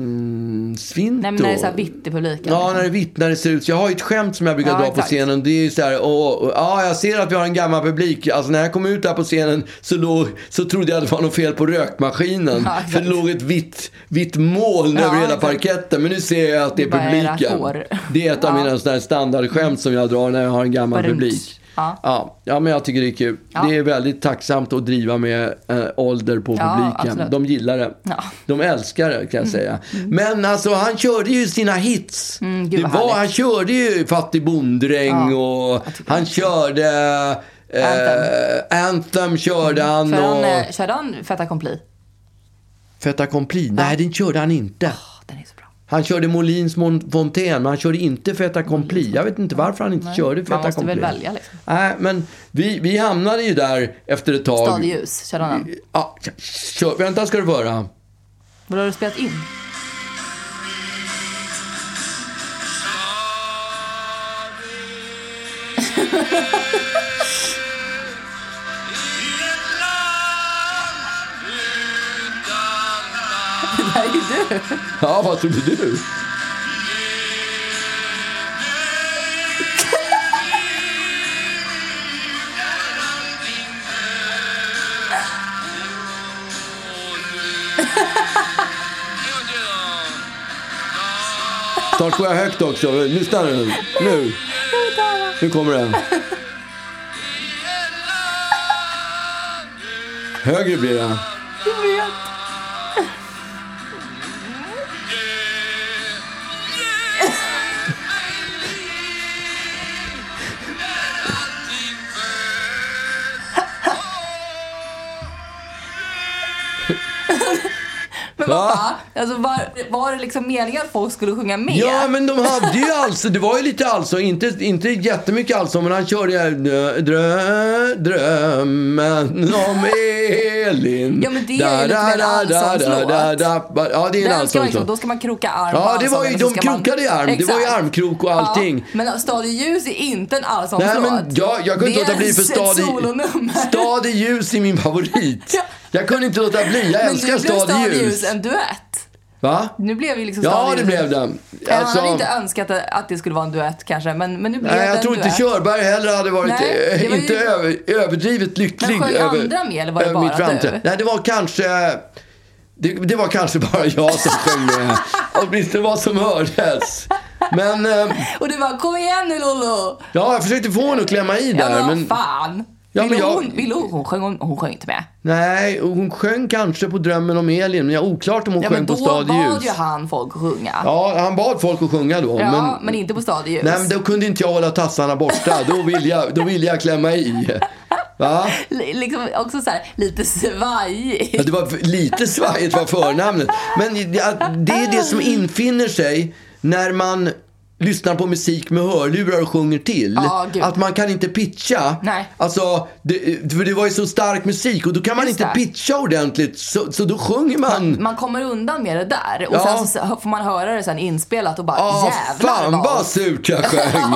S2: Eh, Svinto.
S1: Nej, men när det är så här vitt-publiken.
S2: Ja, när det vittnar det ser ut. Så Jag har ju ett skämt som jag brukar
S1: liksom. Ja,
S2: dra på
S1: exakt.
S2: scenen. Det är ju så här, åh, åh, ja, jag ser att vi har en gammal publik. Alltså när jag kom ut där på scenen så, låg, så trodde jag att det var något fel på rökmaskinen.
S1: Ja,
S2: för det
S1: exakt.
S2: låg ett vitt, vitt moln
S1: Ja,
S2: över hela
S1: exakt.
S2: parketten. Men nu ser jag att det är
S1: Det bara är era
S2: publiken.
S1: hår.
S2: Det är ett av mina sådana här standardskämt som jag drar när jag har en gammal
S1: Vad runt.
S2: publik.
S1: Ja.
S2: Ja, ja, men jag tycker det är kul.
S1: Ja.
S2: Det är väldigt tacksamt att driva med eh, ålder på
S1: Ja,
S2: publiken.
S1: absolut.
S2: De gillar det.
S1: Ja.
S2: De älskar det kan jag säga. Men alltså han körde ju sina hits.
S1: Mm,
S2: det
S1: gud,
S2: var,
S1: vad härligt.
S2: han körde ju Fattig bonddräng och han körde eh, Anthem. körde han
S1: För han,
S2: och
S1: eh, körde han Fait Accompli?
S2: Fait accompli. Nej, den körde han inte.
S1: Åh, den är så bra.
S2: Han körde Molins Mon- Fontaine, men han körde inte Fait accompli. Jag vet inte varför han inte körde Fait
S1: Man måste
S2: accompli.
S1: väl välja liksom.
S2: Nej, men vi, vi hamnade ju där efter ett tag.
S1: Stad i ljus, körde han den?
S2: Ja, kör, vänta ska du få höra.
S1: Vad har du spelat in? Det här är ju du!
S2: Ja, vad trodde du? Snart går jag högt också. Lyssna nu. Nu. Nu kommer den. Högre blir den.
S1: Jag vet! Men vad
S2: Va?
S1: fan? Alltså var, var det liksom meningen att folk skulle sjunga med?
S2: Ja, men de hade ju alltså, det var ju lite alltså, inte, inte jättemycket alltså, men han körde ju drö, drö, drömmen om Elin.
S1: Ja, men det är ju lite mer en allsångslåt.
S2: da. Ja, det är en
S1: Den ska man
S2: allsångslåt.
S1: liksom, då ska man kroka arm på
S2: alltså, Ja, det var ju,
S1: allsången
S2: de
S1: och så ska man-
S2: krokade i arm. Det var ju
S1: Exakt.
S2: armkrok och allting.
S1: Ja, men Stad i ljus är inte en allsångslåt.
S2: Nej, men jag, jag kunde inte
S1: Det är
S2: låta bli för
S1: ett
S2: stad i,
S1: solonummer.
S2: stad i ljus i min favorit.
S1: Ja,
S2: Jag kunde inte låta bli. Jag älskar stadljus.
S1: en duett.
S2: Va?
S1: Nu blev ju liksom
S2: Ja,
S1: Stadljus
S2: det blev
S1: en-
S2: det.
S1: Han hade
S2: Alltså,
S1: inte önskat att- att det skulle vara en duett kanske, men, men nu blev det
S2: nej,
S1: en
S2: jag tror inte
S1: duett.
S2: Körberg heller hade varit
S1: Nej,
S2: eh,
S1: det var ju-
S2: inte över, överdrivet lycklig.
S1: Men sjöng
S2: över,
S1: andra med, eller var det
S2: över
S1: bara
S2: mitt framträdande.
S1: du?
S2: Nej, det var kanske... Det, det var kanske bara jag som sjöng med. Åtminstone vad som hördes. Men eh,
S1: Och du bara, kom igen nu Lollo!
S2: ja, jag försökte få henne att klämma i
S1: Ja,
S2: där.
S1: men
S2: men,
S1: vad fan.
S2: Ja, men
S1: ville
S2: jag-
S1: hon, ville hon, hon, sjöng, hon, hon sjöng inte med.
S2: nej, och hon sjöng kanske på Drömmen om Elin. Men jag är oklart om hon
S1: Ja,
S2: sjöng
S1: men
S2: på
S1: då
S2: Stad i
S1: bad
S2: ljus.
S1: ju han folk att sjunga. Ja,
S2: Ja, han bad folk att sjunga då.
S1: men,
S2: men,
S1: inte på stadljus.
S2: Nej, men då kunde inte jag hålla tassarna borta. Då ville jag, då ville jag klämma i. Va?
S1: L- liksom också så här, lite svajigt.
S2: Ja, det var lite svajigt var förnamnet. Men det det är det som infinner sig när man lyssnar på musik med hörlurar och sjunger till.
S1: Ja, gud.
S2: att man kan inte pitcha.
S1: Nej.
S2: Alltså, det, för det var ju så stark musik och då kan man
S1: Just
S2: inte
S1: det.
S2: pitcha ordentligt. Så, så då sjunger man.
S1: Man kommer undan med det där och
S2: Ja.
S1: sen så får man höra det sen inspelat och bara
S2: Ja,
S1: jävlar
S2: fan vad surt jag sjöng.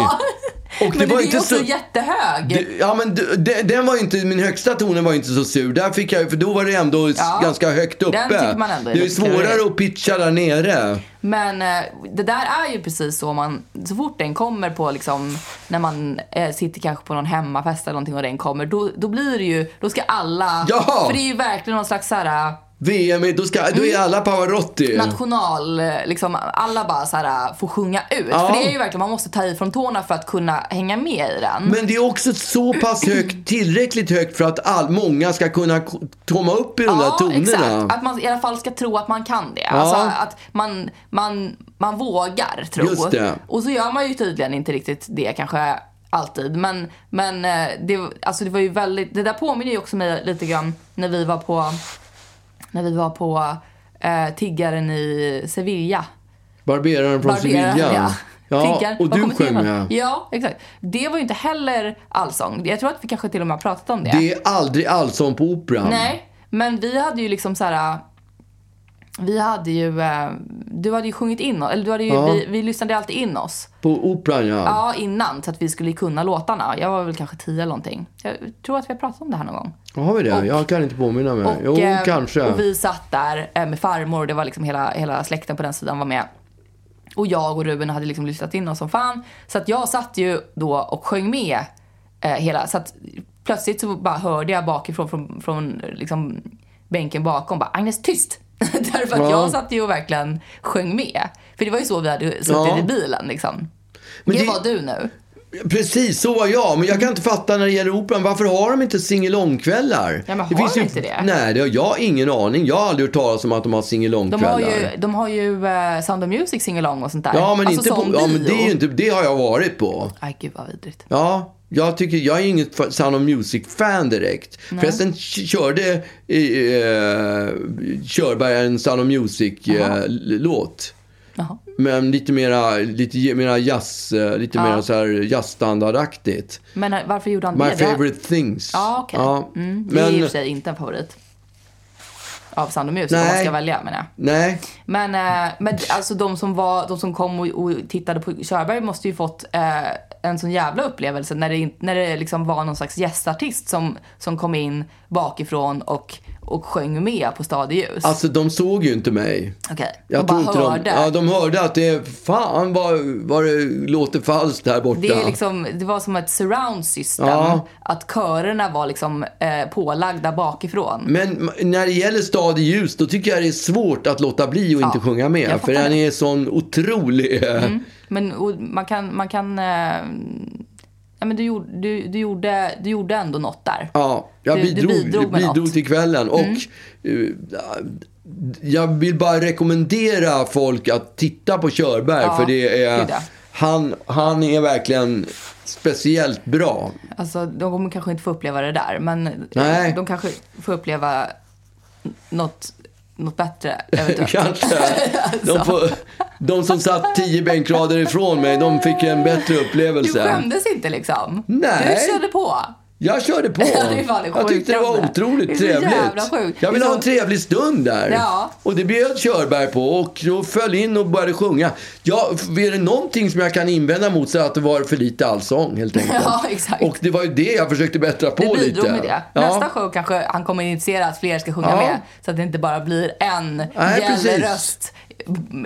S2: Och
S1: Men det var ju också
S2: så-
S1: jättehög.
S2: Det- Ja men d- de, den var ju inte, min högsta tonen var ju inte så sur. Där fick jag, för då var det ändå s-
S1: Ja.
S2: ganska högt uppe.
S1: tycker man ändå är
S2: det är ju
S1: lite klurig.
S2: svårare att pitcha där nere.
S1: Men eh, det där är ju precis så man, så fort den kommer på liksom, när man eh, sitter kanske på någon hemmafest eller någonting och den kommer, då, då blir det ju, då ska alla,
S2: Ja!
S1: för det är ju verkligen någon slags såhär
S2: VM, är- då, ska, då
S1: Mm.
S2: är alla Pavarotti.
S1: national, eh, liksom alla bara såhär får sjunga ut.
S2: Ja.
S1: För det är ju verkligen, man måste ta i från tårna för att kunna hänga med i den.
S2: Men det är också så pass
S1: Mm.
S2: högt, tillräckligt högt för att all, många ska kunna k- komma upp i de där tonerna.
S1: exakt. Att man i alla fall ska tro att man kan det. Alltså att man, man, man vågar tro.
S2: Just det.
S1: Och så gör man ju tydligen inte riktigt det kanske alltid. Men, men eh, det, alltså det var ju väldigt, det där påminner ju också mig lite grann när vi var på, när vi var på eh, tiggaren i Sevilla.
S2: Barberaren från
S1: Barbera,
S2: Sevilla. Ja,
S1: Tiggaren.
S2: och
S1: Var
S2: du
S1: kommer det
S2: sjöng
S1: ifrån?
S2: med.
S1: Ja, exakt. Det var ju inte heller allsång. Jag tror att vi kanske till och med har pratat om
S2: Det är aldrig allsång på Operan.
S1: Nej, men vi hade ju liksom så här. Vi hade ju, eh, du hade ju sjungit in oss, eller du hade ju, vi, vi lyssnade alltid in oss.
S2: På Operan ja.
S1: Ja, innan, så att vi skulle kunna låtarna. Jag var väl kanske tio eller någonting. Jag tror att vi har pratat om det här någon gång.
S2: Har vi det? jag kan inte påminna mig. jo,
S1: eh,
S2: kanske.
S1: Och vi satt där eh, med farmor, det var liksom hela, hela släkten på den sidan var med. Och jag och Ruben hade liksom lyssnat in oss som fan. Så att jag satt ju då och sjöng med eh, hela, så att plötsligt så bara hörde jag bakifrån från, från liksom bänken bakom bara Agnes tyst! Därför
S2: Ja.
S1: att jag satt ju och verkligen sjöng med. För det var ju så vi hade suttit
S2: Ja.
S1: i bilen liksom.
S2: Men
S1: det,
S2: det-
S1: var du nu.
S2: Precis, så var jag. Men jag kan inte fatta när det gäller operan, varför har de inte singelongkvällar?
S1: Ja, men har de inte det?
S2: Nej, det har jag ingen aning. Jag har aldrig hört talas om att de har
S1: De har
S2: singelongkvällar.
S1: ju, de har ju eh, Sound of Music singalong och sånt där.
S2: Ja, men,
S1: alltså
S2: inte
S1: som
S2: på, ja, men det, är ju inte,
S1: bio.
S2: det har jag varit på.
S1: Aj gud vad vidrigt.
S2: Ja, jag, tycker, jag är inget fa- Sound of Music-fan direkt. Förresten k- körde eh, Körberg en Sound of Music-låt.
S1: Jaha.
S2: men lite mera, lite ge- mera jazz, eh, lite mera så här jazzstandardaktigt.
S1: Men eh, varför gjorde han
S2: My
S1: det? Det-
S2: favorite things.
S1: Ja, okej.
S2: Ja,
S1: Mm, det är i och
S2: Men,
S1: för sig inte en favorit. Av Sound of Music, om
S2: Nej.
S1: man ska välja menar jag.
S2: nej.
S1: Men, eh, men alltså de som, var, de som kom och, och tittade på Körberg måste ju fått eh, en sån jävla upplevelse när det, in- när det liksom var någon slags gästartist som, som kom in bakifrån och, och sjöng med på Stadljus.
S2: Alltså de såg ju inte mig.
S1: Okej,
S2: Jag
S1: de bara
S2: tror inte
S1: hörde.
S2: De, ja, de hörde att det, fan vad, vad det låter falskt här borta.
S1: Det, är liksom, det var som ett surround system.
S2: Ja.
S1: Att körerna var liksom eh, pålagda bakifrån.
S2: Men m- när det gäller Stad i ljus, då tycker jag det är svårt att låta bli och inte sjunga
S1: jag
S2: med. För
S1: fattar
S2: den
S1: det. Mm.
S2: är sån otrolig... eh,
S1: Men och man kan... Man kan eh, ja, men du, gjorde, du, du, gjorde, du gjorde ändå något där.
S2: Ja, jag
S1: Du- du
S2: bidrog,
S1: bidrog med något. Mm.
S2: bidrog till kvällen. Och eh, jag vill bara rekommendera folk att titta på Körberg.
S1: Ja,
S2: för det är...
S1: gud ja.
S2: Han, han är verkligen speciellt bra.
S1: Alltså, de kommer kanske inte få uppleva det där, men eh,
S2: Nej.
S1: de kanske får uppleva något, något bättre, eventuellt.
S2: Kanske. eh,
S1: Alltså.
S2: De, får, de som satt tio bänkrader ifrån mig, de fick en bättre
S1: Du
S2: upplevelse.
S1: skämdes inte liksom.
S2: Nej.
S1: Du körde på.
S2: Jag körde på.
S1: Ja, det är fan det
S2: jag tyckte det var
S1: sjukaste.
S2: otrevligt
S1: Det är så
S2: trevligt.
S1: jävla sjukt.
S2: Jag ville
S1: Det är
S2: ha en
S1: så-
S2: trevlig stund där.
S1: Ja.
S2: Och det bjöd Körberg på och då föll in och började sjunga. Ja, är det någonting som jag kan invända mot så är det att det var för lite allsång helt enkelt.
S1: Ja, exakt.
S2: Och det var ju det jag försökte bättra på
S1: Det bidrog
S2: lite.
S1: med det.
S2: Ja.
S1: Nästa show kanske han kommer initiera att fler ska sjunga
S2: Ja.
S1: med. Så att det inte bara blir en
S2: precis.
S1: gäll röst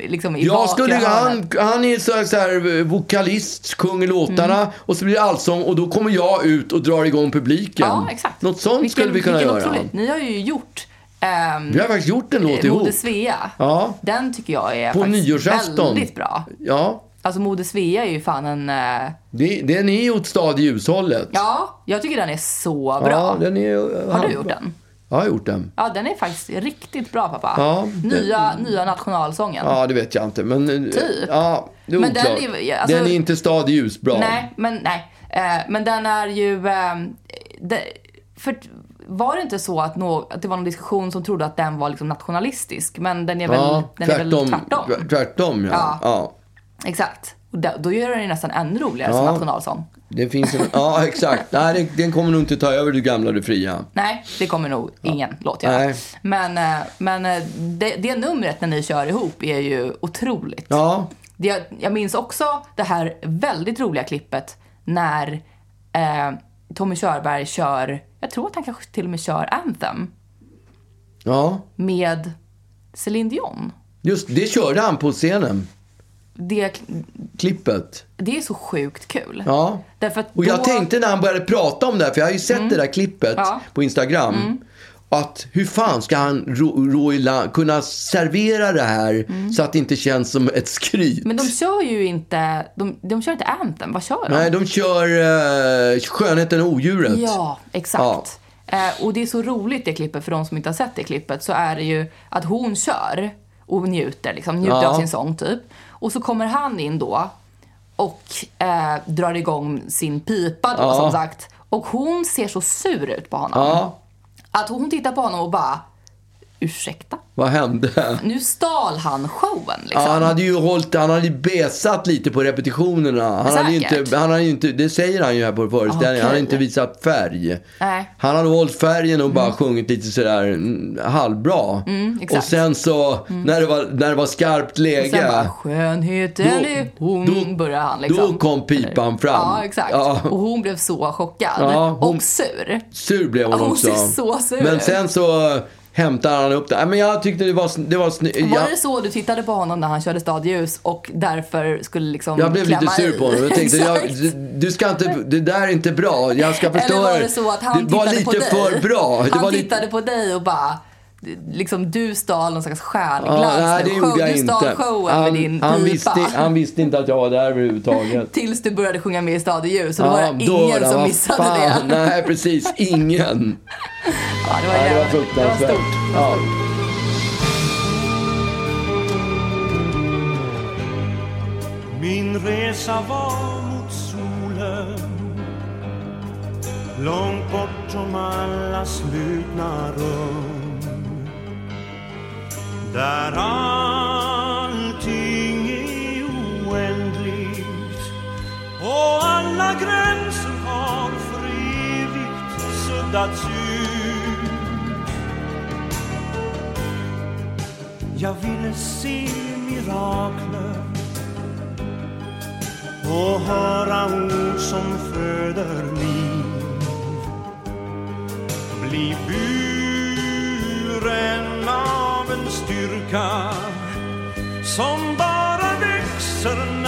S1: liksom, i
S2: Jag
S1: bakre
S2: skulle,
S1: hörnet.
S2: han, han är så här, så här eh, vokalist, sjunger låtarna
S1: Mm.
S2: och så blir det allsång och då kommer jag ut och drar igång publiken.
S1: Ja, exakt.
S2: Något sånt
S1: Vilken-
S2: skulle vi kunna
S1: vilken
S2: göra.
S1: otrolig- Ni har ju gjort ehm,
S2: Vi har faktiskt gjort en låt ihop.
S1: Moder Svea.
S2: Ja.
S1: Den tycker jag är
S2: På
S1: faktiskt
S2: nyårsafton.
S1: väldigt bra.
S2: Ja,
S1: Alltså Moder Svea är ju fan en... eh,
S2: det, den är ju åt stad i ljushållet.
S1: ja, jag tycker den är så bra.
S2: Ja, den är,
S1: Har du gjort den?
S2: Ja, jag har gjort den.
S1: Ja, den är faktiskt riktigt bra pappa.
S2: Ja,
S1: nya, nya nationalsången.
S2: Ja, det vet jag inte. Men, eh,
S1: Typ.
S2: Ja, det är
S1: Men den
S2: oklart.
S1: är- ja, alltså-
S2: den är inte stad i ljus bra.
S1: Nej, men nej. Eh, men den är ju... Eh, det, för var det inte så att, nå, att det var någon diskussion som trodde att den var liksom nationalistisk? Men den är väl,
S2: Ja,
S1: den är väl
S2: tvärtom.
S1: tvärtom?
S2: Tvärtom, ja.
S1: Ja.
S2: ja.
S1: Exakt. Och då, då gör den ju nästan ännu roligare som
S2: Ja.
S1: nationalsång.
S2: Det finns en, ja, exakt. Nej, den, den kommer nog inte ta över Du gamla, du fria.
S1: Nej, det kommer nog ingen låt göra.
S2: Nej.
S1: Men, eh, men eh, det, det numret när ni kör ihop är ju otroligt.
S2: Ja,
S1: Det, jag- jag minns också det här väldigt roliga klippet när eh, Tommy Körberg kör, jag tror att han kanske till och med kör Anthem
S2: ja.
S1: med Céline Dion.
S2: Just det körde han på scenen.
S1: Det,
S2: Klippet.
S1: det är så sjukt kul.
S2: Ja.
S1: Därför att
S2: Och jag
S1: då- Mm.
S2: tänkte när han började prata om det här, för jag har ju sett det där klippet
S1: Ja. Mm.
S2: på Instagram. Att hur fan ska han ro, ro i land, kunna servera det här så att det inte känns som ett skryt?
S1: Mm. Men de kör ju inte, de, de kör inte Anthem, vad kör de?
S2: Nej, de kör eh, Skönheten och odjuret.
S1: Ja,
S2: Ja.
S1: exakt. Eh, och det är så roligt det klippet, för de som inte har sett det klippet, så är det ju att hon kör och njuter, liksom, njuter
S2: Ja.
S1: av sin sång typ. Och så kommer han in då och eh, drar igång sin pipa då,
S2: Ja.
S1: som sagt. Och hon ser så sur ut på honom.
S2: Ja,
S1: Att hon tittar på honom och bara, ursäkta?
S2: vad hände?
S1: Nu stal han showen
S2: Ja,
S1: liksom.
S2: han hade ju hållit, han hade ju besat lite på repetitionerna. Han hade ju
S1: Säkert. Ah,
S2: inte, han hade ju inte, det säger han ju här på föreställningen, han hade
S1: Okej.
S2: inte visat färg.
S1: Nej.
S2: Han hade hållit färgen och bara sjungit lite sådär mm, halvbra. och
S1: Mm, exakt. Mm.
S2: sen så, när, det var, när det var skarpt läge.
S1: Och sen bara, skönheten
S2: Då-
S1: är hon,
S2: då-
S1: börjar han liksom.
S2: då kom pipan fram.
S1: Ja, exakt.
S2: Ja.
S1: Och hon blev så chockad.
S2: Ja, hon-
S1: Och sur.
S2: Sur blev hon
S1: Ja, hon
S2: också.
S1: ser så sur
S2: Men
S1: ut.
S2: sen så eh, hämtade han upp det. Nej, men jag tyckte det var, sn- det var snyggt.
S1: Var det så du tittade på honom när han körde stadljus och därför skulle liksom
S2: Jag blev lite
S1: klämma
S2: sur
S1: i?
S2: på honom. Jag tänkte, jag,
S1: Exakt.
S2: du ska inte, det där är inte bra. Jag ska förstöra.
S1: Eller var det så att han
S2: det var
S1: tittade
S2: lite
S1: på dig?
S2: för bra.
S1: Han
S2: det var
S1: tittade
S2: lite,
S1: på dig och bara liksom du stal någon slags
S2: Ja,
S1: stjärnglans.
S2: nej, det
S1: Show-
S2: gjorde jag
S1: du
S2: inte.
S1: stal showen med din
S2: Han, han,
S1: pipa.
S2: visste, han visste inte att jag var där överhuvudtaget.
S1: Tills du började sjunga med i stadljus och då var det
S2: då
S1: ingen
S2: då,
S1: som
S2: vad
S1: missade
S2: fan.
S1: det.
S2: Nej, precis. Ingen.
S1: Ja, det var,
S2: Nej, det var
S1: jävligt.
S2: fruktansvärt.
S1: Det var stort.
S2: Ja.
S7: Min resa var mot solen Långt bortom alla slutna rum Där allting är oändligt Och alla gränser har för evigt suddats ut Jag ville se mirakler och höra ord som föder liv. Bli buren av en styrka som bara växer